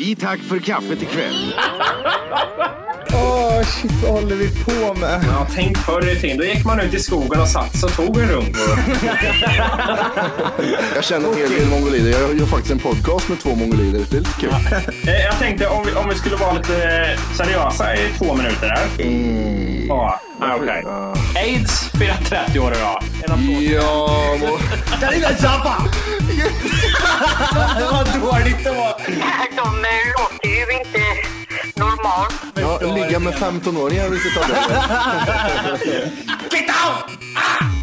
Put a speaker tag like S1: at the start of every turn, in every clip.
S1: I tack för kaffet ikväll.
S2: Ah,
S3: Åh, shit, vad håller vi på med?
S4: Ja, tänk förr i tiden. Då gick man ut i skogen och satt sig och tog en runk.
S2: Jag känner en hel del mongolider. Jag gör faktiskt en podcast med två mongolider. Det är lite kul.
S4: Eh, Jag tänkte om vi, om vi skulle vara lite eh, seriösa i två minuter där.
S5: Mm.
S4: Ja, ah, okej. Aids firar 30 år idag. En applåd.
S2: Ja, må...
S3: Den lilla Zappa! Vad dåligt det var!
S6: De eh, låter ju inte normalt.
S2: ja, ligga med 15-åringar vill inte ta det.
S3: Get out!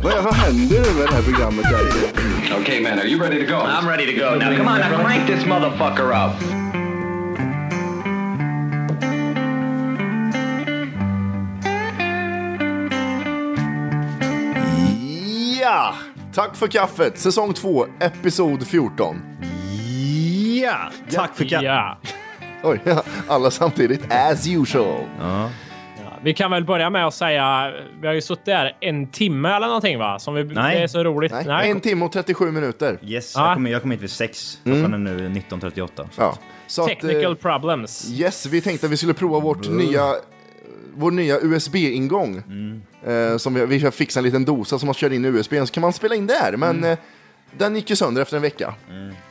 S2: Vad, är- vad händer nu med det här programmet? Där?
S7: Okay, man, are you ready to go?
S5: I'm ready to go now. Come on, now crank this motherfucker up.
S2: Ja! Tack för kaffet, säsong 2, episod 14.
S3: Ja, tack för kaffet.
S8: Ja.
S2: Oj, alla samtidigt. As usual.
S8: Vi kan väl börja med att säga, vi har ju suttit där en timme eller någonting va? Som vi,
S3: Nej.
S8: Det är så roligt.
S2: Nej, en timme och 37 minuter.
S3: Yes,
S8: Ja.
S3: jag kommer jag kom hit vid sex. Klockan är nu 19.38. Så.
S2: Ja. Så att, eh,
S8: Technical problems.
S2: yes, vi tänkte att vi skulle prova vårt
S3: Mm.
S2: nya, vår nya USB-ingång. Eh, som vi, vi har fixat en liten dosa som man kör in i USB, så kan man spela in där.
S3: Mm.
S2: Men eh, den gick ju sönder efter en vecka.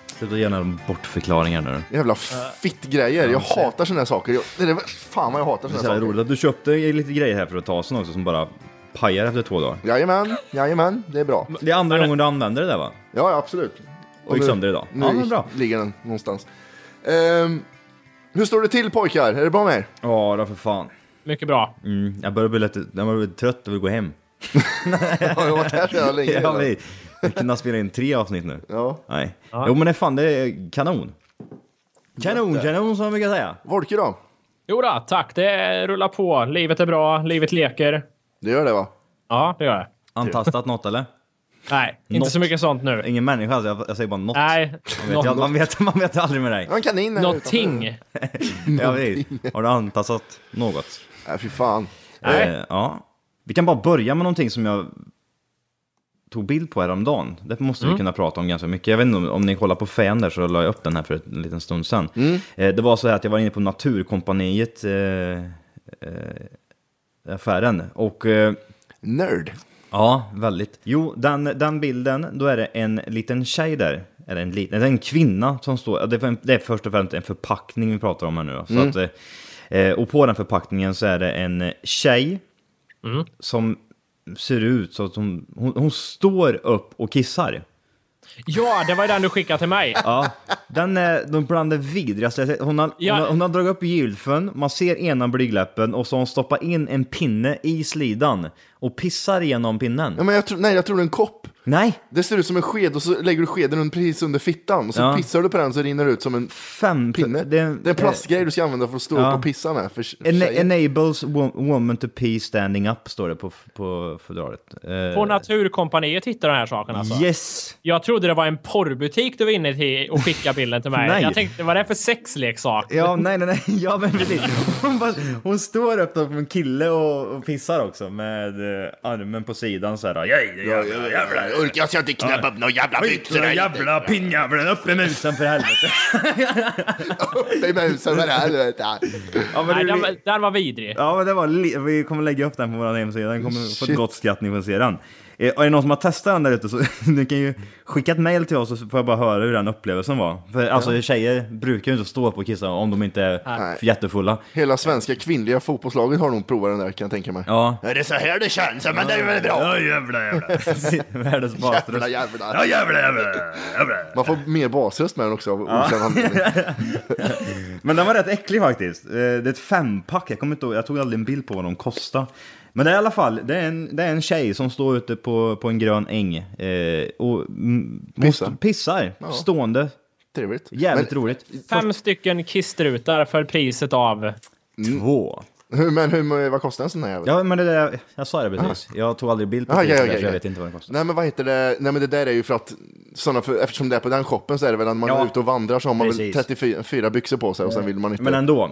S3: Sluta göra några bortförklaringar nu.
S2: Jävla fittgrejer. Jag hatar såna här saker. Jag, det är, fan vad jag hatar såna
S3: Det är
S2: här
S3: så här
S2: saker.
S3: roligt att du köpte lite grejer här för att ta sen också som bara pajar efter två dagar.
S2: Jajamän, jajamän, det är bra.
S3: Det är andra gången du använder det där va?
S2: Ja, ja, absolut.
S3: Och gick sönder idag.
S2: Nu
S3: Ja, men bra.
S2: ligger den någonstans. Ehm, hur står det till pojkar? Är det bra med er?
S3: Ja, då för fan.
S8: Mycket bra.
S3: Mm, jag börjar bli lite, jag börjar bli trött och vill gå hem.
S2: Har jag varit här så jävla länge?
S3: Ja,
S2: redan?
S3: vi, vi kunde spela in tre avsnitt nu.
S2: ja.
S3: Nej. Jo men det är fan, det är kanon. Kanon, kanon som man brukar säga.
S2: Volke då?
S8: Jo då, tack. Det rullar på. Livet är bra. Livet leker.
S2: Det gör det va?
S8: Ja, det gör det.
S3: Antastat något eller?
S8: Nej, inte
S3: Något.
S8: så mycket sånt nu.
S3: Ingen människa, alltså, jag, jag säger bara något.
S8: Nej,
S3: Man vet, ju- man, vet, man vet aldrig med dig.
S2: Jag har en kanin här utanför.
S8: någonting.
S3: Jag vet. Har du antastat något?
S2: Nej, Äh, fy fan.
S8: Nej.
S3: Eh, ja. Vi kan bara börja med någonting som jag tog bild på häromdagen. Det måste vi kunna prata om ganska mycket. Jag vet inte om, om ni kollar på fan där så la jag upp den här för en liten stund sedan. Eh, det var så här att jag var inne på Naturkompaniet, eh, eh, affären. Och eh,
S2: Nörd.
S3: ja, väldigt. Jo, den, den bilden, då är det en liten tjej där. Eller en, liten, det är en kvinna som står, ja, det är, en, det är först och främst en förpackning vi pratar om här nu. då. Så att, eh, eh, och på den förpackningen så är det en tjej som ser ut så att hon, hon, hon står upp och kissar.
S8: Ja, det var ju den du skickade till mig.
S3: Ja, den är de bland det vidrigaste jag sett. Hon har,
S8: Ja.
S3: hon, har, hon har dragit upp gylfen, man ser ena blygdläppen och så har hon stoppat in en pinne i slidan och pissar igenom pinnen.
S2: Ja, men jag tror, nej, jag tror det är en kopp.
S3: Nej,
S2: Det ser ut som en sked och så lägger du skeden un- precis under fittan. Och så
S3: Ja.
S2: pissar du på den så rinner det ut som en
S3: fem
S2: pinne. Det är en, plastgrej du ska använda för att stå
S3: eh, ja.
S2: upp och pissa med. För
S3: En,
S2: tjejer.
S3: eh, enables wo- woman to pee standing up står det på, på fördraget. Eh,
S8: På Naturkompaniet hittade den här saken alltså.
S3: yes!
S8: Jag trodde det var en porrbutik du var inne till och skickade bilden till mig.
S3: Nej.
S8: Jag tänkte, vad är det för sexleksak?
S3: Ja, nej, nej, nej. Ja, men precis. Hon, bara, hon står upp på en kille och, och pissar också med eh, armen på sidan så här. Ja, ja, ja, jävla.
S2: Jag orkar så jag inte knäppa upp några jävla byxor. här.
S3: jävla pinnjäveln, upp med musen för helvete!
S2: Det är musen med det här, du vet.
S3: Ja men,
S8: Nej,
S3: det,
S8: den, var- den var vidrig.
S3: ja, men det var li- vi kommer lägga upp den på vår hemsida, den kommer få ett
S2: Shit.
S3: gott skratt ni får se den. Eh, och är det någon som har testat den där ute så ni kan ju skicka ett mail till oss så får jag bara höra hur den upplevelsen var. För alltså tjejer brukar ju inte stå upp och kissa om de inte är
S2: Nej.
S3: jättefulla.
S2: Hela svenska kvinnliga fotbollslaget har nog provat den där kan jag tänka mig.
S3: Ja.
S2: Är det så här det känns? Ja, Men det är väl bra?
S3: Ja jävlar jävlar. Världens
S2: Jävla jävla.
S3: basröst. Ja jävlar jävlar. jävlar.
S2: Man får mer basröst med den också av okänd anledning.
S3: Men den var rätt äcklig faktiskt. Eh, Det är ett fempack, jag kommer inte ihåg, jag tog aldrig en bild på vad de kostade. Men det är i alla fall, det är en, det är en tjej som står ute på, på en grön äng eh, och mm, hon
S2: Pissar.
S3: st- pissar stående.
S2: Trevligt.
S3: Jävligt roligt.
S8: Fem stycken kisstrutar för priset av...
S3: Två.
S2: Hur, men hur, vad kostar en sån här jävel?
S3: Ja men det där, jag sa det precis. Jag tog aldrig bild på
S2: Ah,
S3: priset
S2: ja, ja,
S3: där,
S2: ja,
S3: så
S2: ja.
S3: jag vet inte vad den kostar.
S2: Nej men vad heter det, nej men det där är ju för att, såna för, eftersom det är på den shoppen så är det väl när man
S3: Ja.
S2: är ute och vandrar så har man
S3: Precis.
S2: väl 34 fyra byxor på sig och sen vill man inte...
S3: Men ändå.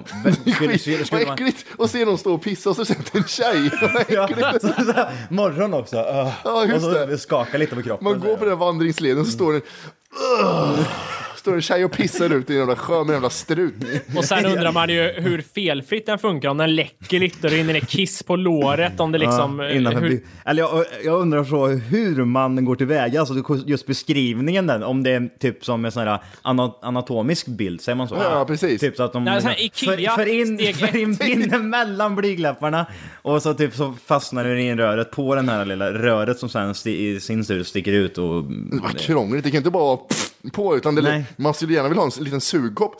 S3: skulle- skulle-
S2: Skit, vad
S3: skulle man-
S2: äckligt! Och se någon stå och pissa och så sätter en tjej. Vad
S3: Ja,
S2: äckligt.
S3: så, så, morgon också. öh.
S2: Ja, just
S3: och så
S2: det.
S3: skakar lite på kroppen. Mm.
S2: Man går på den här vandringsleden så står det Står en tjej och pissar ut i en jävla sjö med en jävla strut.
S8: Och sen undrar man ju hur felfritt den funkar, om den läcker lite och det rinner ner kiss på låret, om det liksom...
S3: Ja, innanför
S8: hur,
S3: bi- Eller jag, jag undrar så hur man går tillväga, alltså det- just beskrivningen där, om det är typ som en sån här ana- anatomisk bild, säger man så?
S2: Ja, precis.
S3: Typ så att de
S8: Nej, sån här Ikea,
S3: för, för in,
S8: steg
S3: för in pinnen mellan blyglapparna och så typ så fastnar den i röret på den här lilla röret som sen sti- i sin tur sticker ut och...
S2: Vad krångligt, det kan inte bara vara på utan det,
S3: Nej.
S2: man skulle gärna vilja ha en liten sugkopp.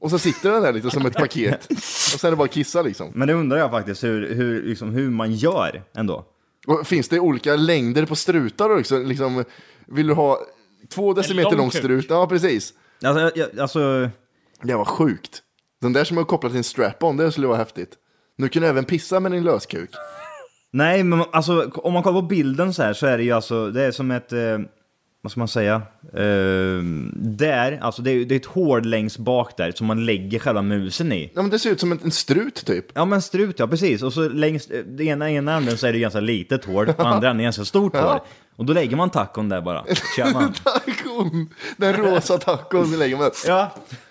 S2: Och så sitter den där lite som ett paket. Och sen är det bara att kissa liksom.
S3: Men det undrar jag faktiskt hur, hur, liksom, hur man gör ändå.
S2: Och finns det olika längder på strutar också? Liksom, vill du ha två decimeter
S8: lång
S2: lång
S8: kuk.
S2: strut? Ja, precis.
S3: Alltså, jag- jag, alltså
S2: Det var sjukt. Den där som jag kopplat till en strap-on, det skulle vara häftigt. Nu kan du även pissa med din löskuk.
S3: Nej, men alltså, om man kollar på bilden så här så är det ju alltså, det är som ett, eh, vad ska man säga, eh, där, alltså det är, det är ett hål längst bak där som man lägger själva musen i.
S2: Ja, men det ser ut som en, en strut typ.
S3: Ja men strut ja, precis. Och så längst, eh, det ena ena änden så är det ju ganska litet hål, på andra änden är det ganska stort hål. Och då lägger man tacon där bara. Kör man.
S2: Tacon! Den rosa tacon vi lägger med.
S3: Ja,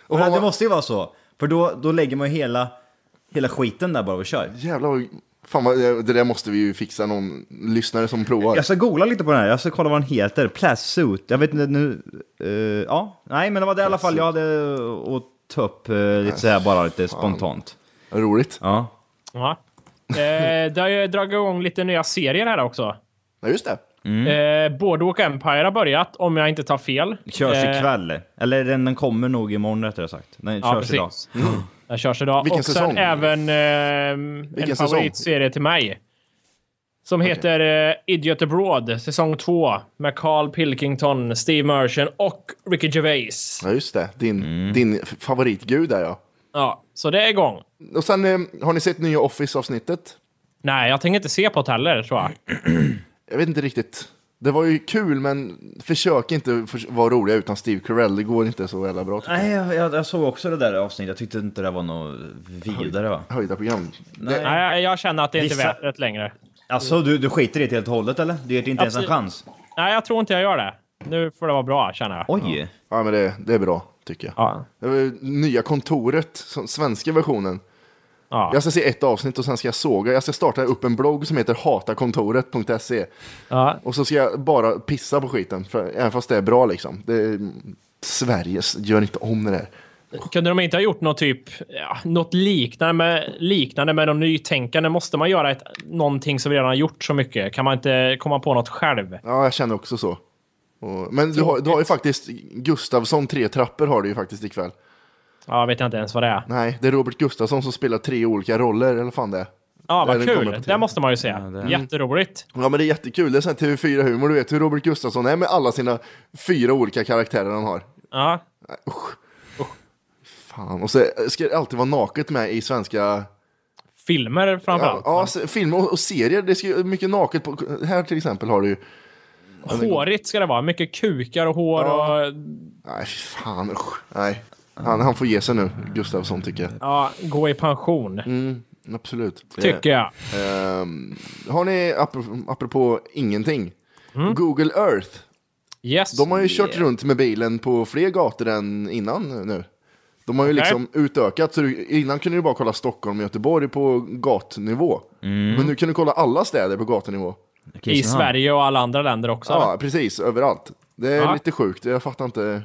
S2: Och
S3: men
S2: har
S3: det
S2: man-
S3: måste ju vara så. För då, då lägger man ju hela, hela skiten där bara och kör.
S2: Jävlar vad... Fan vad, det där måste vi ju fixa någon lyssnare som provar.
S3: Jag ska googla lite på den här, jag ska kolla vad den heter. Plastsuit, jag vet inte nu. eh, ja, nej men det var det i alla fall jag hade att ta upp eh, lite så här bara lite spontant.
S2: Roligt.
S3: Ja.
S8: Ja. Eh, det har ju dragit igång lite nya serier här också.
S2: Ja, just det.
S3: Mm.
S8: Eh, Boardwalk Empire har börjat, om jag inte tar fel.
S3: Körs
S8: Eh,
S3: ikväll, eller den, den kommer nog imorgon rättare sagt. Den
S8: Ja,
S3: körs idag. Mm.
S8: precis. Den körs idag.
S2: Vilken
S8: och sen
S2: säsong?
S8: även ehm, en
S2: säsong?
S8: favoritserie till mig. Som heter eh, Idiot Abroad, säsong 2. Med Carl Pilkington, Steve Merchant och Ricky Gervais.
S2: Ja, just det. Din, din f- favoritgud där ja.
S8: Ja, så det är igång.
S2: Och sen, eh, har ni sett nya Office-avsnittet?
S8: Nej, jag tänker inte se på det heller, tror jag.
S2: Jag vet inte riktigt. Det var ju kul, men försök inte förs- vara roliga utan Steve Carell. Det går inte så jävla bra. tycker jag.
S3: Nej, jag, jag, jag såg också det där avsnittet, jag tyckte inte det var något vidare va?
S2: Höjda program.
S3: Nej.
S8: Nej, jag- jag känner att det är inte är
S3: Vissa-
S8: värt det längre.
S3: Alltså du, du skiter i det helt och hållet eller? Du ger det inte ens en
S8: Absolut.
S3: chans?
S8: Nej, jag tror inte jag gör det. Nu får det vara bra, känner jag.
S3: Oj!
S2: Ja, men det, det är bra, tycker jag.
S8: Ja.
S2: Det var ju Nya kontoret, som- svenska versionen.
S8: Ja.
S2: Jag ska se ett avsnitt och sen ska jag såga. Jag ska starta upp en blogg som heter hatakontoret.se.
S8: Ja.
S2: Och så ska jag bara pissa på skiten, för, även fast det är bra liksom. Det är, Sveriges, gör inte om det där.
S8: Kunde de inte ha gjort något, typ, ja, något liknande, med, liknande med de nytänkande? Måste man göra ett, någonting som vi redan har gjort så mycket? Kan man inte komma på något själv?
S2: Ja, jag känner också så. Och, men du har, du har ju faktiskt Gustavsson, tre trappor har du ju faktiskt ikväll.
S8: Ja, jag vet inte ens vad det är.
S2: Nej, det är Robert Gustafsson som spelar tre olika roller, eller vad fan det är.
S8: Ja,
S2: Ja,
S8: vad
S2: den kommer på
S8: kul!
S2: tv.
S8: Det måste man ju se. Jätteroligt.
S2: Ja, men det är jättekul. Det är sån här TV4-humor, du vet hur Robert Gustafsson är med alla sina fyra olika karaktärer han har.
S8: Ja.
S2: Fan, och så ska det alltid vara naket med i svenska...
S8: Filmer
S2: Ja,
S8: framförallt.
S2: ja se- filmer och, och serier, det ska ju mycket naket på... Här till exempel har du ju...
S8: Hårigt ska det vara. Mycket kukar och hår och...
S2: Nej, fy fan, usch. Nej. Han, han får ge sig nu, Gustafsson, tycker jag.
S8: Ja, gå i pension.
S2: Mm. Absolut.
S8: Tycker jag.
S2: Ehm, har ni, apropå, apropå ingenting, Google Earth.
S8: Yes.
S2: De har ju kört runt med bilen på fler gator än innan nu. De har ju liksom utökat, så du, innan kunde du bara kolla Stockholm och Göteborg på gatnivå.
S3: Mm.
S2: Men nu kan du kolla alla städer på gatunivå.
S8: I
S3: Kristian.
S8: Sverige och alla andra länder också.
S2: Ja, precis, överallt. Det är
S8: Ja.
S2: lite sjukt, jag fattar inte.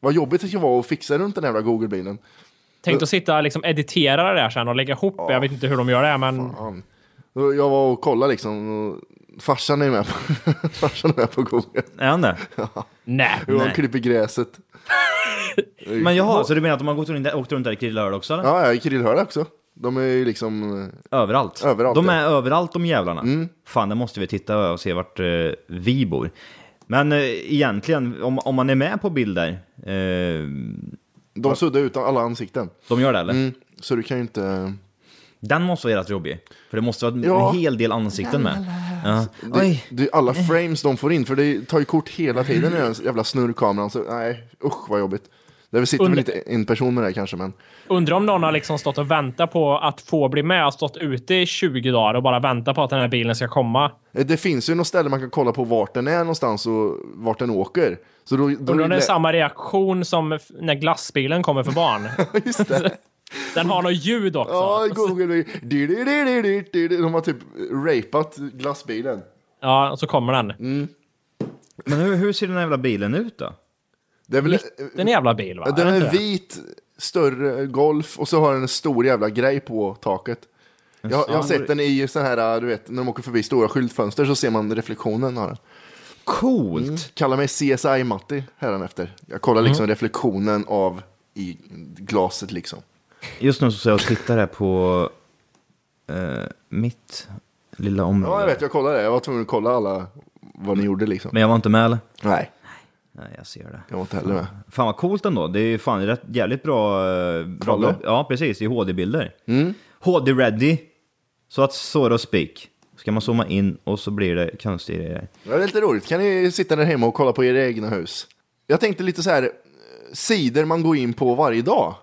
S2: Vad jobbigt det ska vara att fixa runt den jävla Google-bilen.
S8: Tänk att sitta och liksom editera det där sen och lägga ihop. Jag vet inte hur de gör det, men...
S2: Fan. Och Jag var och kollade liksom, och farsan är med på, farsan är med på Google.
S3: Är han det?
S8: Nej.
S2: Jo, han
S3: Nej.
S2: klipper gräset.
S3: Men jaha, så du menar att de har gått runt, där- åkt runt där i Krillehörd också eller?
S2: Ja, jag är krillhörda också. De är ju liksom... eh,
S3: Överallt.
S2: Överallt,
S3: de
S2: ja. Mm.
S3: är överallt de jävlarna. Fan, det måste vi titta och se vart eh, vi bor. Men eh, egentligen, om, om man är med på bilder, eh,
S2: De suddar ut alla ansikten.
S3: de gör det eller?
S2: Mm. Så du kan ju inte...
S3: Den måste vara rätt jobbig. För det måste vara en-
S2: Ja.
S3: en hel del ansikten med. Ja.
S2: Det,
S3: Oj.
S2: det är alla frames de får in, för det tar ju kort hela tiden i den jävla snurrkameran. Så nej, usch vad jobbigt. Där vi sitter
S8: Under-
S2: väl inte en person med det här kanske, men
S8: Undrar om någon har liksom stått och väntat på att få bli med och stått ute i 20 dagar och bara väntat på att den här bilen ska komma.
S2: eh, det finns ju något ställe man kan kolla på vart den är någonstans och vart den åker. Så då, då
S8: Undrar om det är
S2: lä-
S8: samma reaktion som f- när glassbilen kommer för barn.
S2: Just det.
S8: Den har något ljud också.
S2: Ja, Google. Du, du, du, du, du, du, du. De har typ rapat glassbilen.
S8: Ja, och så kommer
S2: Mm.
S8: den.
S3: Men hur, hur ser den här jävla bilen ut då?
S2: Det är väl,
S8: Den jävla bil, va?
S2: Ja, Den
S8: Är det
S2: är
S8: inte det?
S2: vit, större golf och så har den en stor jävla grej på taket. Jag, jag har sett den i sån här, äh, du vet, när de åker förbi stora skyltfönster så ser man reflektionen av den.
S3: Coolt!
S2: Kalla mig CSI-Matti efter. Jag kollar liksom reflektionen av i glaset liksom.
S3: Just nu så ser jag och tittar här på eh, mitt lilla område.
S2: Ja, jag vet, jag kollar det. Jag var tvungen att kolla alla vad ni gjorde liksom.
S3: Men jag var inte med eller?
S2: Nej,
S3: Nej, jag ser det.
S2: jag var inte heller med.
S3: Fan vad coolt ändå. Det är ju fan rätt, jävligt bra... eh, bra
S2: Kolla.
S3: bra- ja, precis. I HD-bilder. HD-ready. Så att så och speak. Ska man zooma in och så blir det konstiga grejer.
S2: Ja, det är lite roligt. Kan ni sitta där hemma och kolla på era egna hus? Jag tänkte lite så här, eh, sidor man går in på varje dag.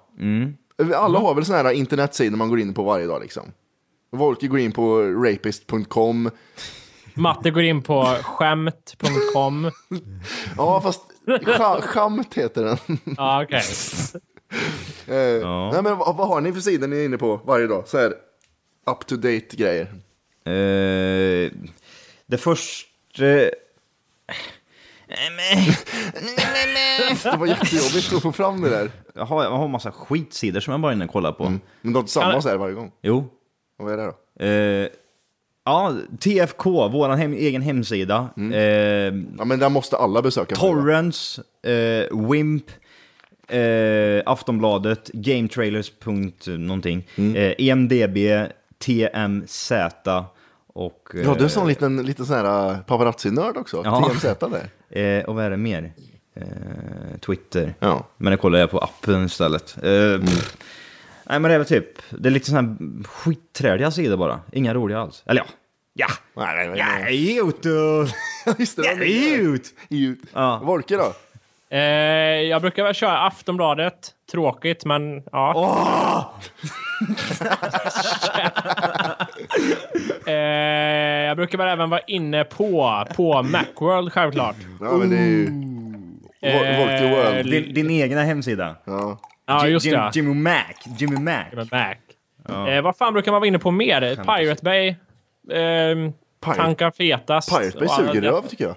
S2: Alla har väl såna här internetsidor man går in på varje dag liksom. Volker går in på rapist.com.
S8: Matte går in på skämt.com.
S2: Ja, fast scha- schamt heter den.
S8: Ja, okej.
S2: Eh, Nej, men vad, vad har ni för sidor ni är inne på varje dag? Så här up to date grejer.
S3: Eh, det första... Eh,
S2: Det var jättejobbigt att få fram det där.
S3: jag, har, jag har en massa skitsidor som jag bara inne och kollar på.
S2: Men de är samma så här varje gång.
S3: Jo.
S2: Och Vad är det då?
S3: Eh, ja, TFK, vår hem, egen hemsida. Eh,
S2: Ja, men där måste alla besöka.
S3: Torrents, eh, Wimp, eh, Aftonbladet, Gametrailers. punkt Någonting,
S2: Mm.
S3: eh, EMDB, TMZ och... Eh,
S2: Ja, du är en sån liten, liten sån här eh, paparazzi-nörd också.
S3: Ja.
S2: TMZ där.
S3: eh, och vad är det mer? Eh, Twitter.
S2: Ja. Mm.
S3: Men det kollar jag på appen istället. Eh, pff. Nej men det är väl typ, det är lite sådana här skitträdiga sidor bara. Inga roliga alls. Eller ja. Ja!
S2: Nej, nej, nej.
S3: Ja, idiot!
S2: Just det,
S3: Ja,
S2: det var det.
S3: idiot!
S2: Ut.
S3: Ja.
S2: Volke då?
S8: Eh, jag brukar väl köra Aftonbladet. Tråkigt, men ja. eh, jag brukar väl även vara inne på, på Macworld självklart.
S2: Ja, men det är ju... Vol- Volke World.
S3: Din, din egna hemsida.
S2: Ja.
S8: Ja, just
S3: Jim,
S8: det.
S3: Jimmy Mac. Jimmy Mac.
S8: Med Mac. Eh, vad fan brukar man vara inne på mer? Pirate Bay? Ehm,
S2: Pirate-
S8: tankar fetast?
S2: Pirate Bay
S8: och alla
S2: suger
S8: det-
S2: röv tycker jag.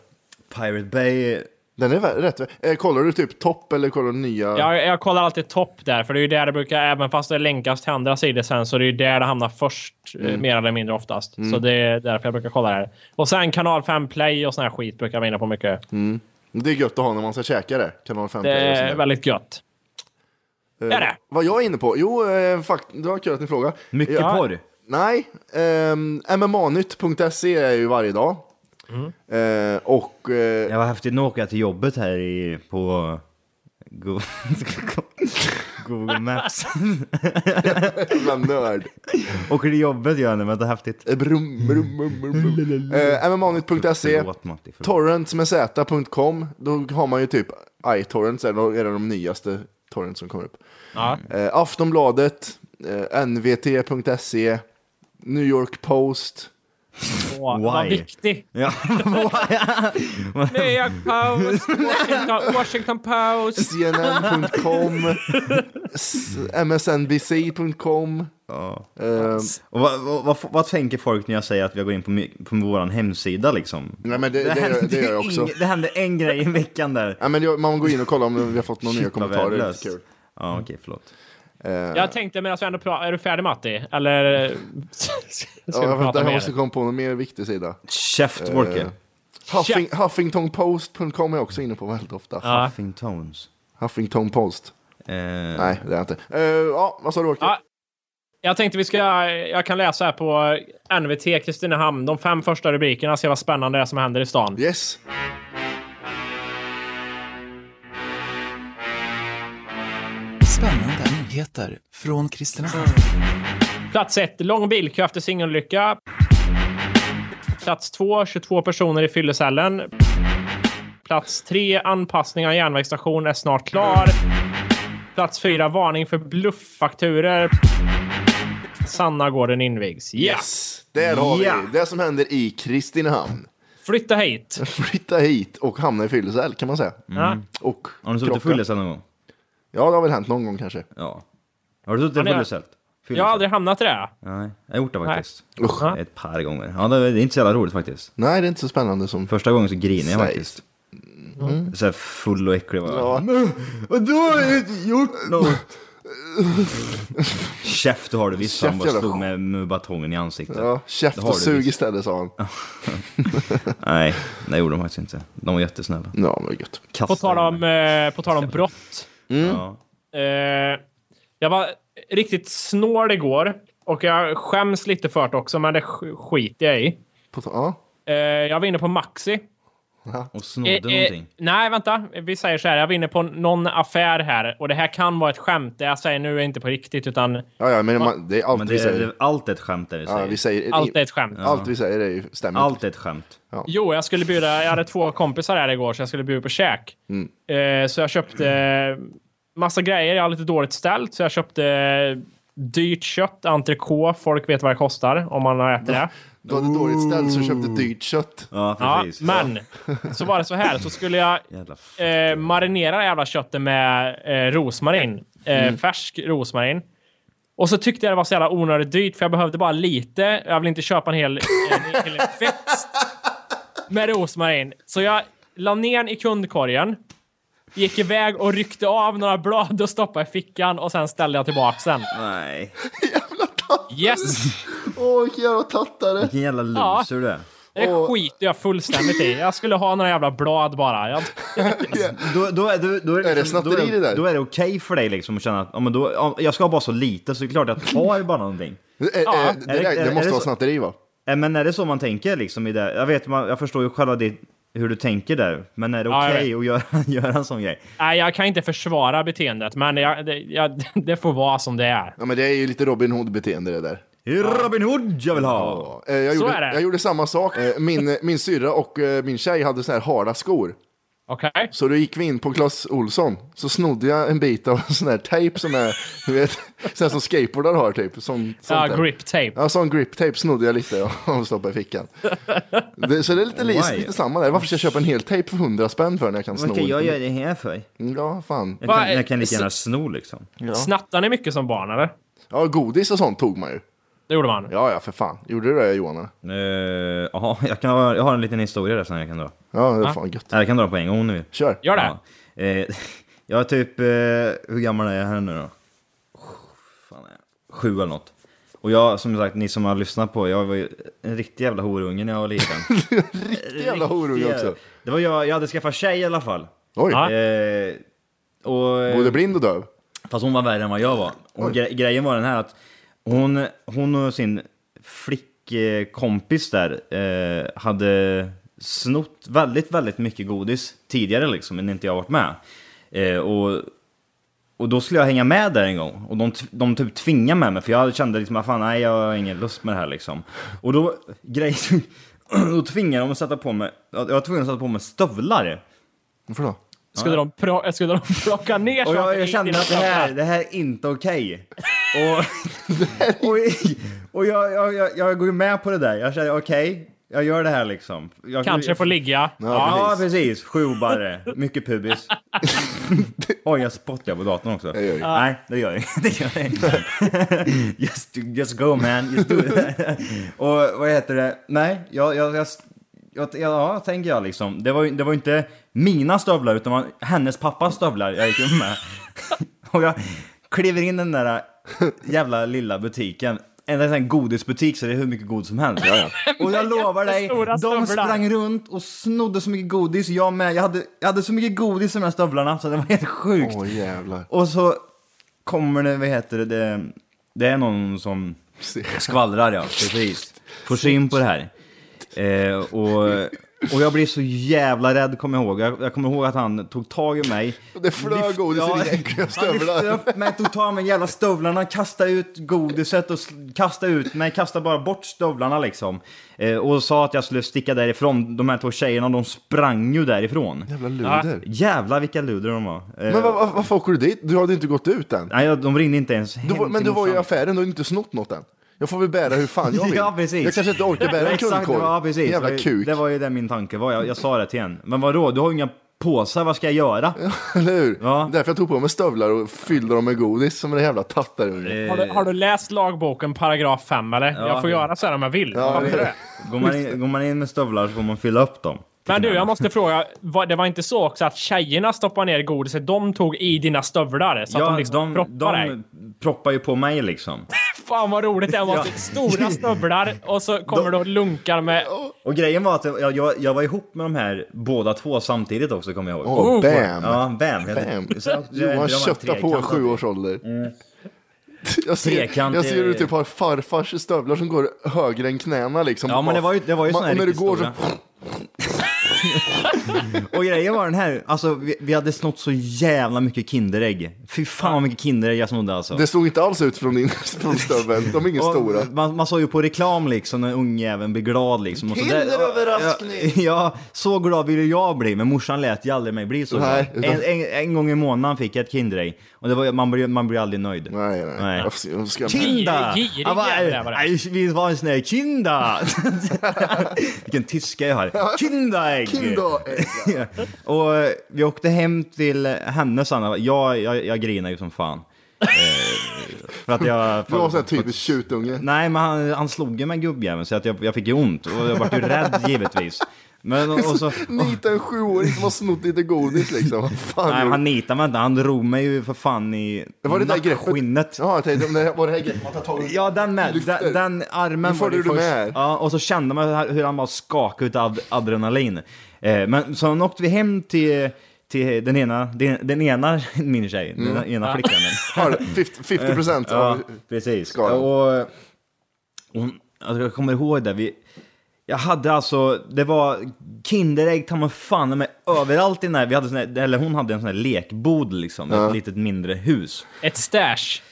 S3: Pirate Bay.
S2: Den är vä- rätt... vä- Eh, kollar du typ topp eller kollar du nya?
S8: Jag, jag kollar alltid topp där, för det är ju där det brukar, även fast det länkas till andra sidor sen, så det är ju där det hamnar först, eh,
S2: Mm.
S8: mer eller mindre oftast. Så det är därför jag brukar kolla där. Och sen Kanal 5 Play och sån här skit brukar jag vara inne på mycket.
S2: Det är gött att ha när man ska käka det. Kanal 5
S8: Det
S2: Play och
S8: är
S2: sånt där.
S8: väldigt gött.
S2: Eh,
S8: är det.
S2: Vad jag är inne på? Jo, eh, fakt... det var kul att ni frågade.
S3: Mycket
S2: Jag-
S3: porr.
S2: Nej, ehm, MMAnytt.se E är jag ju varje dag. Eh, och eh,
S3: Jag var häftigt nog att åka till jobbet här i, på Go- Google Maps.
S2: jävla nörd.
S3: Åker till jobbet gör jag nu, men det är häftigt.
S2: Eh, brum, brum, brum, brum, brum. Eh, MMAnytt.se.
S3: Mm. Förlåt Matti. förlåt.
S2: Torrents med z.com, då har man ju typ iTorrents, eller då är det de nyaste torrents som kommer upp.
S8: Ja.
S2: Eh, Aftonbladet, eh, nvt.se, E, New York Post.
S8: Och, vad
S3: Why?
S8: viktig!
S3: Ja.
S8: New York Post, Washington, Washington Post.
S2: CNN.com, s- MSNBC.com. Eh,
S3: Och vad, vad, vad, vad tänker folk när jag säger att jag går in på, my- på vår hemsida liksom?
S2: nej men det, det, gör, det gör jag också.
S3: ing- det händer en grej i veckan där.
S2: Ja, men jag, man går in och kollar om vi har fått några nya
S3: Shit, vad
S2: kommentarer. Det är
S3: värdelöst.
S2: kul. Eh,
S3: Ja, okej, förlåt.
S8: Jag tänkte medan vi ändå pratar, är du färdig Matti? Eller? Ska vi
S2: Ja, jag
S8: prata
S2: väntar, jag
S8: mer?
S2: måste komma på någon mer viktig sida. Eh.
S3: Käft, Wolke.
S2: Huffing, Huffingtonpost.com är jag också inne på väldigt ofta.
S8: Ja.
S3: Fucking tones.
S2: Huffington Post.
S3: Eh,
S2: Nej, det är jag inte. Eh, ja, vad sa du Åke?
S8: Ja. Jag tänkte vi ska, jag kan läsa här på NVT Kristinehamn, de fem första rubrikerna, se vad spännande det är som händer i stan.
S2: Yes.
S9: Spännande nyheter från Kristinehamn.
S8: Plats 1, lång bilkö efter singelolycka. Plats 2, 22 personer i fyllecellen. Plats 3, anpassning av järnvägsstation är snart klar. Plats fyra, varning för blufffakturer. Sannagården invigs. Ja!
S2: Yes! Där har
S3: Ja.
S2: vi det som händer i Kristinehamn.
S8: Flytta hit!
S2: Flytta hit och hamna i fyllecell kan man säga.
S8: Ja.
S2: Och
S3: Mm. Har du suttit
S2: krocka.
S3: full någon gång?
S2: Ja, det har väl hänt någon gång kanske.
S3: Ja. Har du suttit
S8: ni-
S3: full istället?
S8: Jag har aldrig hamnat i det. här.
S3: Nej, jag har gjort det faktiskt.
S2: Usch.
S8: Ja.
S3: Ett par gånger. Ja, det det är inte så jävla roligt faktiskt.
S2: Nej, det är inte så spännande som...
S3: Första gången så grinade jag
S2: Säg.
S3: faktiskt. Så här full och äcklig var jag.
S2: Ja. Vadå? Har du inte gjort
S3: Något. Käft du har du visst. Han
S2: Käft,
S3: bara
S2: jävla
S3: stod
S2: skit.
S3: med, med batongen i ansiktet.
S2: Ja,
S3: Det
S2: käft
S3: har
S2: och
S3: du
S2: sug
S3: visst.
S2: istället sa han.
S3: Nej, det gjorde de faktiskt inte. De var jättesnälla.
S2: Ja, men gött.
S3: Kastade
S8: På tal om,
S3: mig.
S8: eh, på tal om brott.
S3: Ja.
S8: Eh, jag var riktigt snål igår och jag skäms lite för det också, men det sk- skiter jag i.
S2: På ta- ja.
S8: Eh, jag var inne på Maxi.
S3: Och snodde
S8: Eh, eh,
S3: någonting.
S8: nej, vänta. Vi säger så här. Jag var inne på någon affär här och det här kan vara ett skämt. Det jag säger nu är inte på riktigt utan
S2: ja, ja, men man, det är allt
S3: Men
S2: vi
S3: det är
S2: säger.
S3: det, allt är ett skämt där vi
S2: ja,
S3: säger.
S2: vi säger
S8: allt är ett skämt.
S2: allt vi säger är ju, stämmer.
S3: Allt är ett skämt.
S8: Jo, jag skulle bjuda. Jag hade två kompisar här igår så jag skulle bjuda på käk. Eh, så jag köpte eh, massa grejer. Jag har lite dåligt ställt så jag köpte eh, dyrt kött, entrecote. Folk vet vad det kostar om man har ätit det.
S2: Du hade dåligt ställt så du köpte dyrt kött.
S3: Ja,
S8: Ja,
S3: precis.
S8: men så var det så här. Så skulle jag
S3: Jävla f-
S8: eh, marinera det jävla köttet med eh, rosmarin. Eh, Färsk rosmarin. Och så tyckte jag det var så jävla onödigt dyrt för jag behövde bara lite. Jag vill inte köpa en hel, en hel växt med rosmarin. Så jag la ner den i kundkorgen. Gick iväg och ryckte av några blad och stoppade i fickan och sen ställde jag tillbaks den.
S3: Nej.
S2: Jävla tattare!
S8: Yes!
S2: Åh, vilken jävla tattare!
S3: Vilken jävla
S8: Ja.
S3: loser du är.
S8: Det
S2: Och-
S8: skiter jag fullständigt i. Jag skulle ha några jävla blad bara. Jag,
S3: Då, då, är- då, då är,
S2: Är det
S3: liksom-
S2: snatteri
S3: då
S2: det där?
S3: Då är det okej för dig liksom att känna att ja, men då, ja, jag ska ha bara så lite så det är klart jag tar bara någonting.
S2: Eh, eh,
S8: Ja.
S2: det,
S3: Är det-
S2: där-
S3: är-
S2: det
S3: är det
S2: måste vara
S3: så?
S2: snatteri va?
S3: Äh, Men är det så man tänker liksom i det? Jag vet, man, jag förstår ju själva det, hur du tänker där. Men är det
S8: Ja, jag
S3: okej att göra, göra en sån grej?
S8: Nej, jag kan inte försvara beteendet, men jag, det, jag, det får vara som det är.
S2: Ja, men det är ju lite Robin Hood-beteende det där.
S3: Robin Hood jag vill ha!
S2: Ja, eh, jag,
S8: Så
S2: gjorde,
S8: är det.
S2: jag gjorde samma sak. Eh, Min, eh, min syrra och eh, min tjej hade så här harda skor.
S8: Okej?
S2: Så då gick vi in på Clas Olsson. Så snodde jag en bit av sån här tejp som är, du vet, sån här som skateboardar har typ. Sån, sånt
S8: Ja,
S2: där.
S8: grip tape.
S2: Ja, sån grip tape snodde jag lite och stoppade i fickan. Det, så det är lite,
S3: Why?
S2: lite samma där. Varför ska jag köpa en hel tejp för 100 spänn för när jag kan sno?
S3: Vad kan jag
S2: lite? Mm,
S3: göra det här för?
S2: Ja, fan.
S3: Jag
S8: Va,
S3: kan, jag
S8: eh,
S3: kan lika gärna sno liksom.
S8: Snattade ni mycket som barn, eller?
S2: Ja, godis och sånt tog man ju.
S8: Det gjorde man.
S2: Ja, ja, för fan. Gjorde du det Johan?
S3: Eh, Jaha, jag, kan ha- jag har en liten historia där som jag kan dra.
S2: Ja, det är fan gött.
S3: Nej, jag kan dra på en gång om ni vill.
S2: Kör.
S8: Gör det?
S3: Ja. Eh, jag är typ, eh, hur gammal är jag här nu då? Oh, Fan är jag? Sju eller något. Och jag, som sagt, ni som har lyssnat på, jag var ju en riktig jävla horunge när jag var liten.
S2: Riktig jävla horunge också.
S3: Det var jag, jag hade skaffat tjej i alla fall.
S2: Oj,
S8: Ja.
S3: Eh, och, eh,
S2: både blind och döv.
S3: Fast hon var värre än vad jag var. Och gre- grejen var den här att hon, hon och sin flickkompis där eh, hade snott väldigt, väldigt mycket godis tidigare liksom, men inte jag varit med. Eh, och, och då skulle jag hänga med där en gång och de, t- de typ tvingade med mig för jag kände liksom att fan nej jag har ingen lust med det här liksom. Och då, grejen, då tvingade de att sätta på mig, jag var tvungen att sätta på mig stövlar.
S2: Varför då?
S8: Skulle, de pro- eh, skulle de plocka ner
S3: Och
S8: saker
S3: jag,
S8: i
S3: jag kände
S8: dina
S3: att det här,
S8: stövlar?
S3: det här är inte okej. Och, och, och jag, jag, jag, jag går ju med på det där. Jag känner okej, jag gör det här liksom. Jag,
S8: Kanske får ligga.
S3: Ja, precis. Sjubarre. Mycket pubis. Oj, jag spottar på datorn också.
S2: gör jag.
S3: Nej, det gör jag inte. Det gör jag inte. just, just go man, just do it. Och vad heter det? Nej, jag... jag, jag jag- Ja, tänker jag liksom. Det var ju det var ju inte mina stövlar utan var hennes pappas stövlar jag gick in med. Och jag kliver in i den där jävla lilla butiken. En sån här godisbutik så det är hur mycket godis som helst. Och jag lovar dig,
S8: Jättestora
S3: de
S8: stövlar.
S3: sprang runt och snodde så mycket godis, jag med. Jag hade, jag hade så mycket godis i de här stövlarna så det var helt sjukt.
S2: Åh jävlar.
S3: Och så kommer det, vad heter det, det, det är någon som skvallrar ja, precis. Får syn på det här. Eh, och Och jag blev så jävla rädd, kommer jag ihåg. Jag, jag kommer ihåg att han tog tag i mig.
S2: Det flög
S3: lyft-
S2: godis i dina äckliga
S3: Han
S2: stövlar.
S3: lyfte upp mig, tog tag i mig i jävla stövlarna, kastade ut godiset och sl- kastade ut mig, kastade bara bort stövlarna liksom. Eh, och sa att jag skulle sticka därifrån. De här två tjejerna, de sprang ju därifrån.
S2: Jävla luder.
S3: Jävlar vilka luder de var. Eh,
S2: Men va- va- varför åker du dit? Du hade inte gått ut än.
S3: Nej, jag- de ringde inte ens
S2: Du,
S3: hem
S2: var- men
S3: till
S2: du var ju i
S3: morsan.
S2: affären, du har inte snott något än. Jag får väl bära hur fan jag vill.
S3: Ja, precis.
S2: Jag kanske inte orkar bära en
S3: Exakt,
S2: kundkorg.
S3: Ja, precis. Det
S2: Jävla
S3: var ju-
S2: kuk.
S3: Det var ju det min tanke var. Jag, jag sa det till en. Men vadå, du har ju inga påsar, vad ska jag göra?
S2: Eller hur?
S3: Ja.
S2: Därför jag tog på mig stövlar och fyllde dem med godis som en jävla
S3: Eh,
S2: tattarunge.
S8: Har du, har du läst lagboken paragraf 5 eller? jag får göra så här om jag vill.
S2: Ja,
S8: Varför
S2: det-
S8: det?
S3: Går, man in, går man in med stövlar så får man fylla upp dem.
S8: Men du, jag måste fråga. Var, det var inte så också att tjejerna stoppade ner godiset de tog i dina stövlar? Så att de liksom proppar dig?
S3: de proppar ju på mig liksom.
S8: Fan vad roligt det var. Stora stövlar och så kommer du och lunkar med...
S3: Och grejen var att jag, jag, jag var ihop med de här båda två samtidigt också kommer jag ihåg.
S2: Åh,
S8: Oh.
S2: bam!
S3: Ja, bam. Jag-
S2: Bam.
S3: så eh, jag- jag- jag var Mm.
S2: Johan köttar på
S3: trekantad.
S2: sju års ålder. Jag ser,
S3: Trekant
S2: jag ser hur
S3: är-
S2: du typ har farfars stövlar som går högre än knäna liksom.
S3: Ja, men det var ju, det var ju
S2: Man-
S3: såna här
S2: och när du
S3: riktigt
S2: går så,
S3: stora. Och grejen var den här, alltså vi, vi hade snott så jävla mycket Kinderägg. Fy fan vad mycket Kinderägg jag snodde alltså.
S2: Det såg inte alls ut från din från stöveln. De är inget
S3: Och
S2: stora.
S3: Man, man såg ju på reklam liksom när ungjäveln blir glad liksom. Och så där-
S2: Kinderöverraskning!
S3: Ja, ja, så glad ville jag bli, men morsan lät ju aldrig mig bli så
S2: Nej,
S3: glad.
S2: utan-
S3: En, en, en gång i månaden fick jag ett Kinderägg. Och det var, man, blir, man blir aldrig nöjd.
S2: Nej, nej.
S3: Nej.
S2: Jag ska- jag ska-
S3: Kinda!
S8: Girig- girig
S3: Jag bara,
S8: jävla var det.
S3: "Aj, Vi var en sån här Kinda! Vilken tyska jag har. Kinderägg!
S2: Kinda!
S3: och eh, vi åkte hem till henne Sanna. Jag, jag, jag grinar ju som fan. Eh, för att jag...
S2: Du var sån här
S3: för-
S2: typisk tjutunge.
S3: Nej, men han, han slog ju med gubbjäveln så att jag, jag fick ju ont och jag vart ju rädd givetvis. Men och, och så...
S2: Nita en sjuåring som har snott lite godis liksom. Vad fan
S3: Nej,
S2: gjorde-
S3: han nitade mig inte. Han drog mig ju för fan i
S2: Var det där greppet?
S3: nackskinnet.
S2: Ja, jag tänkte om det här- var det här greppet man tar tag i.
S3: Ja, den med.
S2: Lyfter.
S3: Den, den armen
S2: Nu får
S3: var det
S2: du
S3: först.
S2: det med.
S3: Ja, och så kände man hur han bara skakade utav adrenalin. Eh, men sen åkte vi hem till, till den ena, den, den ena, min tjej,
S2: Mm.
S3: den ena flickvännen.
S2: Har 50 50 procent.
S3: Ja,
S2: av-
S3: precis.
S2: skadan.
S3: Och, och, alltså, jag kommer ihåg det. Vi, jag hade alltså, det var Kinderägg ta mig fan med överallt i den här, vi hade sån här, eller hon hade en sån här lekbod liksom, ett litet mindre hus.
S8: Ett stash.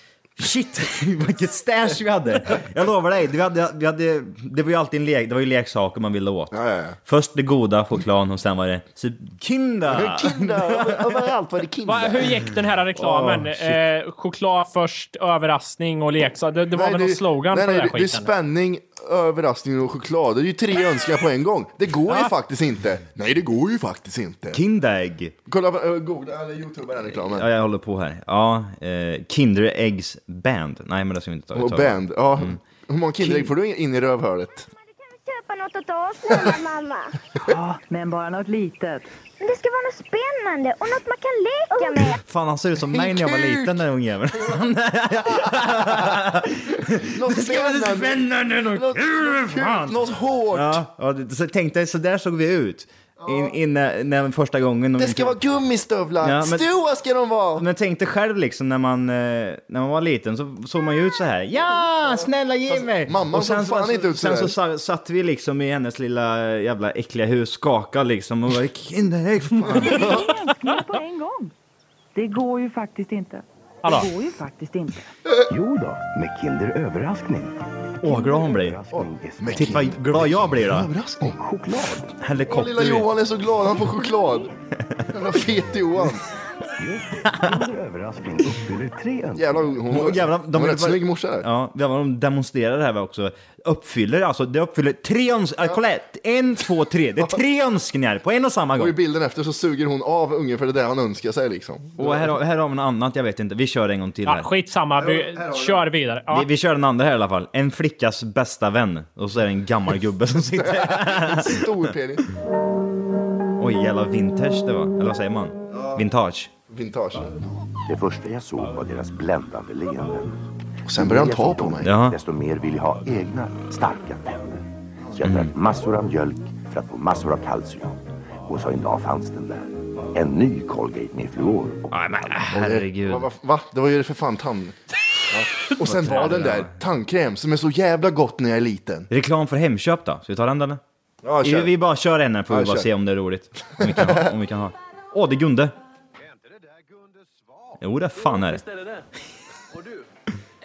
S3: Shit, vilket stash vi hade! Jag lovar dig, vi hade, vi hade, det var ju alltid en lek, det var ju leksaker man ville åt.
S2: Ja, ja, ja.
S3: Först det goda, chokladen och sen var det så, Kinder!
S2: Kinder, över- överallt var det
S8: Va,
S2: Kinder.
S8: hur gick den här reklamen?
S2: Ah,
S8: eh, choklad först, överraskning och leksak. Det, det var väl någon slogan
S2: nej,
S8: på
S2: nej,
S8: den här
S2: det, det är
S8: skiten?
S2: spänning, överraskning och choklad. Det är ju tre önskningar på en gång. Det går ju faktiskt inte. Nej, det går ju faktiskt inte.
S3: Kinderägg!
S2: Kolla på uh, Google eller Youtube den reklamen.
S3: Ja, jag håller på här. Ja, eh, Kinderäggs band. Nej, men det ska vi inte ta.
S2: och
S3: ta-
S2: band. Ja.
S3: Mm.
S2: Hur många Kinderägg får du in i rövhålet?
S6: Köpa något åt oss snälla mamma.
S10: Ja, men bara något litet.
S6: Men Det ska vara något spännande och något man kan leka med.
S3: Fan, han ser ut som mig när jag var
S2: kuk!
S3: liten, den ungjäveln.
S2: Något
S3: Spännande!
S2: Något,
S3: något kul,
S2: något,
S3: fan.
S2: kul, något hårt.
S3: Ja, ja, det- så tänkte jag, så där såg vi ut. In, in, när första gången.
S2: Det ska vara gummistövlar.
S3: Ja, men-
S2: Stora ska de vara.
S3: men tänkte själv liksom när man, eh, när man var liten så såg man ju ut så här. Ja, snälla ge mig!
S2: mamman
S3: Och
S2: såg fan inte ut så
S3: Sen
S2: där.
S3: så sa- satt vi liksom i hennes lilla eh, jävla äckliga hus, skakade liksom och bara Kinderägg, fan.
S10: Önskningar på en gång. Det går ju faktiskt inte.
S8: Hallå?
S10: Det går ju faktiskt inte.
S9: Jo då, med Kinderöverraskning.
S3: Åh, vad glad hon blir.
S2: Men
S3: Titta vad glad jag blir då.
S2: Överraskning.
S9: Choklad.
S2: Åh, Lilla
S3: Helikopter.
S2: Johan är så glad, han får choklad. Jävla fet Johan.
S9: Kinderöverraskning uppfyller tre önskningar.
S2: Jävlar, hon, hon,
S3: Och jävlar, de
S2: hon
S3: är
S2: är rätt
S3: bara-
S2: snygg morsa där.
S3: Ja, det var de demonstrerar det här också. Uppfyller alltså, det uppfyller tre önskningar. Kolla här, en, två, tre. Det är tre önskningar på en och samma
S2: Och i
S3: gång.
S2: bilden efter så suger hon av ungen för det där han önskar sig liksom.
S3: Och här, har- här har vi något annat, jag vet inte. Vi kör en gång till
S8: Ja,
S3: här.
S8: skitsamma, vi, kör vidare. Ja.
S3: Vi, vi kör den andra här i alla fall. En flickas bästa vän. Och så är det en gammal gubbe som sitter.
S2: Stor penis.
S3: Oj, jävla vintage det var. Eller vad säger man? Vintage.
S2: Vintage.
S9: Det första jag såg var deras bländande leenden.
S2: Och sen börjar han ta på mig.
S3: Jaha.
S9: Desto mer vill jag ha egna, starka tänder. Så jag drack massor av mjölk för att få massor av kalcium. Och så en dag fanns den där. En ny Colgate med fluor. Och
S3: Nej men herregud.
S2: Va, va, va? Det var ju för fan tand. Ja. Och sen var den där tandkräm som är så jävla gott när jag är liten.
S3: Reklam för Hemköp då? Ska vi ta den eller?
S2: Ja,
S3: vi,
S2: kör.
S3: vi bara kör en här får vi
S2: Ja,
S3: bara
S2: kör.
S3: se om det är roligt. Om vi kan ha. Om vi kan ha. Åh, det är Gunde! Jo, det fan är det.
S11: Visst är det det. Och du,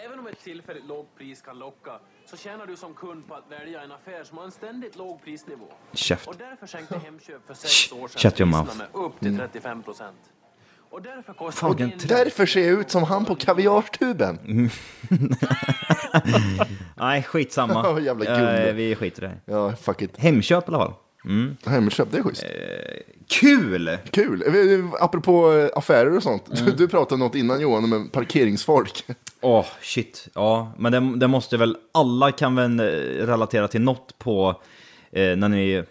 S11: även om ett tillfälligt lågt pris kan locka så tjänar du som kund på att välja en affär som har en ständigt låg prisnivå.
S3: Käft.
S11: Och därför sänkte Hemköp för sex år sedan
S3: shut your
S11: priserna
S3: mouth.
S11: med upp till 35 procent. Och därför kostar
S2: Och
S11: din-
S2: därför ser jag ut som han på kaviartuben.
S3: Nej, skitsamma.
S2: Jävla Gunde.
S3: Eh, vi skiter i det här.
S2: Ja, fuck it.
S3: Hemköp i alla fall. Mm.
S2: Hemköp, det är schysst.
S3: Kul!
S2: Kul! Eh, vi- Apropå eh, affärer och sånt.
S3: Mm.
S2: Du, du pratade något innan Johan om en parkeringsfolk.
S3: Åh, shit. Ja, men det, det måste väl... Alla kan väl eh, relatera till något på eh, när ni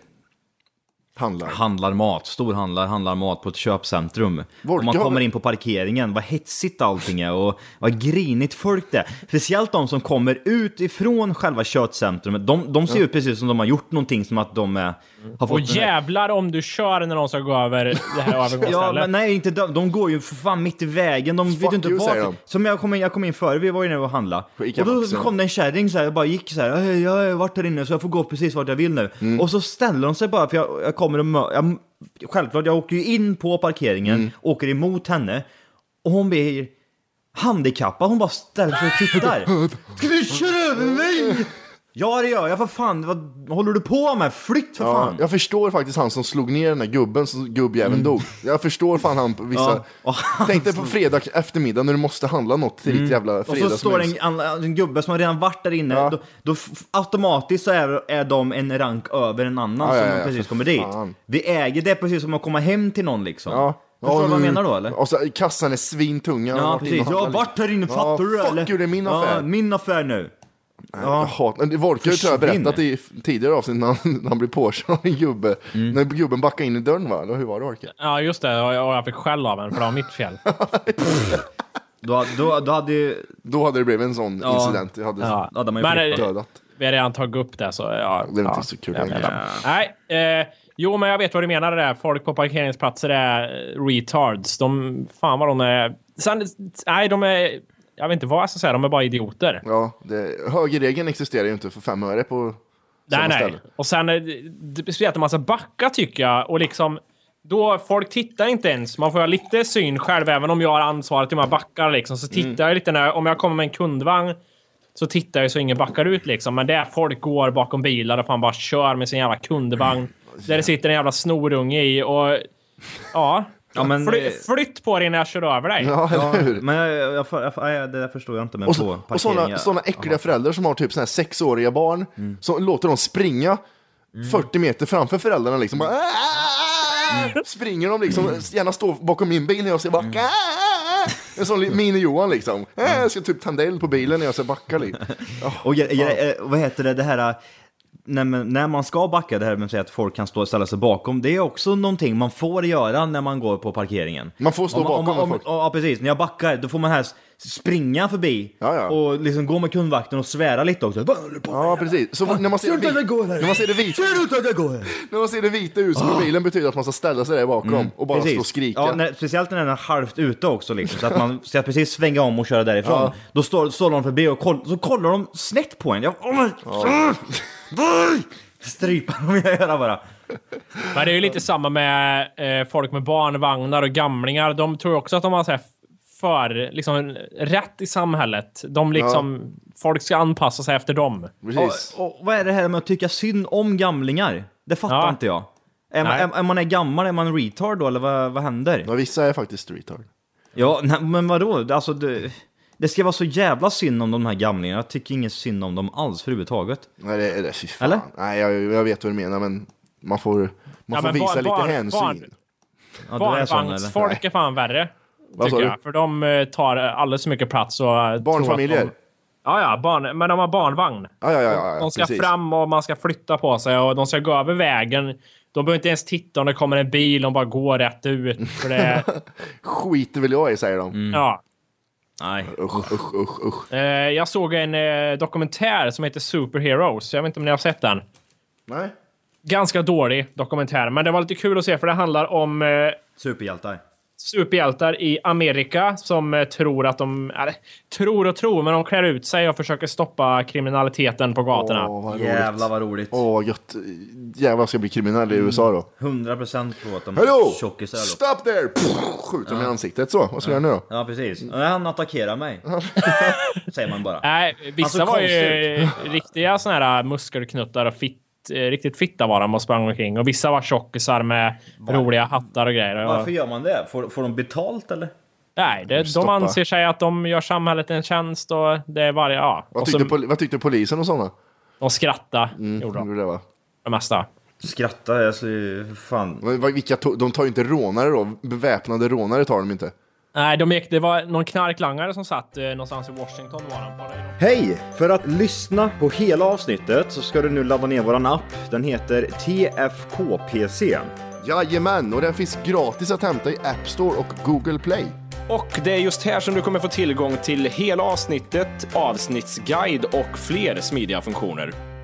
S2: handlar.
S3: handlar mat, storhandlar, handlar mat på ett köpcentrum.
S2: Volke
S3: och man
S2: har
S3: kommer
S2: väl-
S3: in på parkeringen, vad hetsigt allting är och vad grinigt folk det är. Speciellt de som kommer ut ifrån själva köpcentrumet. De, de ser ut precis som de har gjort någonting, som att de är, har fått...
S8: Och
S3: den här-
S8: jävlar om du kör när någon ska gå över det här
S3: Ja,
S8: övergångsstället.
S3: men nej, inte de, de går ju för fan mitt i vägen. De vet
S2: Fuck
S3: ju inte
S2: you,
S3: vart.
S2: säger de.
S3: Som jag kom in, jag kom in före, vi var ju nere och handlade.
S2: På Ica
S3: Och då
S2: Maxi.
S3: kom det en kärring så här, jag bara gick så här, "Hej, jag har varit här inne så jag får gå precis vart jag vill nu.
S2: Mm.
S3: Och så ställer de sig bara, för jag, jag kommer och mö- jag, Självklart, jag åker ju in på parkeringen,
S2: Mm.
S3: åker emot henne. Och hon blir handikappad, hon bara ställer sig och tittar. Ska du köra över mig? Ja det gör jag, för fan, vad håller du på med? Flytt för
S2: Ja,
S3: fan!
S2: jag förstår faktiskt han som slog ner den där gubben så gubbjäveln dog. Jag förstår fan han på vissa...
S3: Mm. Ja. Och-
S2: Tänkte på fredag eftermiddag när du måste handla något till ditt jävla
S3: Mm. Och så
S2: fredagsmys.
S3: står det en, en, en gubbe som har redan varit där inne,
S2: Ja.
S3: då, då f- automatiskt så är, är de en rank över en annan
S2: Ja,
S3: som
S2: ja, ja,
S3: precis
S2: för
S3: kommer dit.
S2: fan.
S3: Vi äger det precis som att komma hem till någon liksom.
S2: Ja.
S3: Förstår
S2: Ja,
S3: du vad jag
S2: nu-
S3: menar då eller?
S2: Och så, kassan är svintunga.
S3: Ja,
S2: Jag har varit inne
S3: precis.
S2: och
S3: Jag har
S2: handlat
S3: varit här inne,
S2: Ja,
S3: fattar du
S2: fuck
S3: eller?
S2: you, det är min
S3: Ja,
S2: affär.
S3: min affär nu.
S2: Jag hatar... Det Volker tror jag
S3: Försvinn.
S2: berättat i tidigare avsnitt när han, när han blev påkörd av en gubbe.
S3: Mm.
S2: När gubben backade in i dörren va? Eller hur var det Volker?
S8: Ja, just det. Och jag och jag fick skäll av en för det var mitt fel.
S3: Då, då, då hade ju...
S2: Då hade det blivit en sån
S3: Ja.
S2: incident. Jag hade
S8: Ja.
S3: Då hade man ju
S8: Men,
S3: flippat.
S8: eh,
S2: dödat.
S8: Vi har redan tagit upp det, så ja.
S2: Det är
S8: ja.
S2: inte så kul
S8: Ja,
S2: längre.
S8: men- Nej. Eh, jo, men jag vet vad du menar. Det där. Folk på parkeringsplatser är eh, retards. De, fan vad de är... Sen, nej, de är... Jag vet inte vad jag ska säga. De är bara idioter.
S2: Ja, det, högerregeln existerar ju inte för fem öre på
S8: Nej,
S2: sådana
S8: nej.
S2: ställen.
S8: Och sen eh, det- speciellt när man ska backa tycker jag. Och liksom, då folk tittar inte ens. Man får ha lite syn själv, även om jag har ansvaret hur man backar. Liksom, så tittar
S3: Mm.
S8: jag lite när, om jag kommer med en kundvagn så tittar jag så ingen backar ut liksom. Men där folk går bakom bilar och fan bara kör med sin jävla kundvagn.
S3: Mm.
S8: Där det sitter en jävla snorunge i och... Ja.
S3: Ja, men,
S8: Fly,
S3: eh,
S8: flytt på dig när jag kör över dig.
S2: Ja, eller hur?
S3: Men jag, jag, jag, jag, jag, det där förstår jag inte, men
S2: Och,
S3: på
S2: så, och
S3: parkeringar...
S2: sådana,
S3: Mm.
S2: sådana äckliga föräldrar som har typ såna här sexåriga barn, som låter dem springa 40 meter framför föräldrarna liksom.
S3: Mm.
S2: Bara, "Aah!" Springer de liksom, gärna står bakom min bil när jag ska backa.
S3: Mm.
S2: "Aah!" En sån li- mini-Johan liksom. "Äh, Jag ska typ tända eld på bilen när jag ska backa lite.
S3: Och jag, jag, eh, vad heter det, det här... eh, När man, när man ska backa, det här med att säga att folk kan stå och ställa sig bakom, det är också någonting man får göra när man går på parkeringen.
S2: Man får stå
S3: om,
S2: bakom
S3: om, om,
S2: folk.
S3: Ja, precis. När jag backar, då får man här s- springa förbi
S2: Ja, ja.
S3: och liksom gå med kundvakten och svära lite också. Vad håller du på med?
S2: Ja, precis. Så när man ser,
S3: Ser du
S2: det
S3: inte att jag går
S2: vit,
S3: här?
S2: när man ser det vita,
S3: Ser du inte att jag går här?
S2: när man ser det vita ljuset på bilen betyder det att man ska ställa sig där bakom och bara stå och skrika.
S3: Ah. Mm. Ja, när, speciellt när den är halvt ute också liksom, så att man ska precis svänga om och köra därifrån. Då står, står de förbi och koll, så kollar de snett på en. Jag, oh, ja. Strypar dem i örat bara.
S8: Men det är ju lite samma med eh, folk med barnvagnar och gamlingar. De tror också att de har så här f- för, liksom, rätt i samhället. De liksom, Folk ska anpassa sig efter dem.
S2: Precis.
S3: Och, och vad är det här med att tycka synd om gamlingar? Det fattar
S8: Ja.
S3: inte jag. Är man,
S8: Nej.
S3: är, är man är gammal, är man retard då eller vad, vad händer?
S2: Ja, vissa är faktiskt retard.
S3: Ja, nej, men vadå? Alltså, det, det ska vara så jävla synd om de här gamlingarna. Jag tycker inget synd om dem alls för överhuvudtaget.
S2: Nej, det, det, fy fan.
S3: Eller?
S2: Nej, jag, jag vet vad du menar, men man får, man
S8: Ja,
S2: får
S8: men
S2: visa
S8: barn-
S2: lite
S8: barn-
S2: hänsyn.
S8: barn-
S3: Ja, du är sån, eller?
S8: Barnvagnsfolk är fan värre.
S2: sa
S8: Tycker
S2: du?
S8: jag. För de eh, tar alldeles för mycket plats. Och eh,
S2: Barnfamiljer?
S8: tror att De, ja, ja. Barn, men de har barnvagn.
S2: Ja, ja, ja, ja, ja,
S8: De ska
S2: precis.
S8: fram och man ska flytta på sig och de ska gå över vägen. De behöver inte ens titta om det kommer en bil. De bara går rätt ut. För det,
S2: Skiter väl jag i, säger de.
S8: ja.
S3: Nej.
S2: Usch, usch, usch, usch.
S8: Eh, jag såg en eh, dokumentär som heter Superheroes. Jag vet inte om ni har sett den.
S2: Nej.
S8: Ganska dålig dokumentär, men det var lite kul att se för det handlar om... Eh,
S3: Superhjältar.
S8: superhjältar i Amerika som eh, tror att de... Eller, tror och tror, men de klär ut sig och försöker stoppa kriminaliteten på gatorna.
S2: Åh, vad
S3: Jävlar vad roligt.
S2: Åh, vad gött. Jävlar ska bli kriminell i USA då.
S3: 100% på att de
S2: Mm. Hallå!
S3: tjockisar. då.
S2: Stop there! Pff, Skjuter dem i ansiktet så. Vad ska jag göra nu då?
S3: Ja, precis. Ja, Han attackerar mig. Säger man bara.
S8: Nej, vissa
S3: Alltså,
S8: var ju
S3: konstigt.
S8: riktiga såna här eh, muskelknuttar och fitt, eh, riktigt fitta var de och sprang omkring. Och vissa var tjockisar med roliga hattar och grejer. Och-
S3: Varför gör man det? Får, får de betalt eller?
S8: Nej, det, de
S2: Stoppa.
S8: anser sig att de gör samhället en tjänst och det är varje... Ja.
S2: Vad
S8: Och
S2: tyckte, Mm.
S8: så,
S2: poli- vad tyckte polisen och sådana?
S8: de skrattar, gjorde de.
S2: Gjorde det, va?
S8: Det mesta.
S3: Skratta, alltså fan.
S2: Men vad- Vilka to- de tar ju inte rånare då. Beväpnade rånare tar de inte.
S8: Nej, de gick, det var någon knarklangare som satt eh, någonstans i Washington var han på det.
S3: Hej! För att lyssna på hela avsnittet så ska du nu ladda ner våran app. Den heter TFKPC.
S2: Jajamän, och den finns gratis att hämta i App Store och Google Play.
S12: Och det är just här som du kommer få tillgång till hela avsnittet, avsnittsguide och fler smidiga funktioner.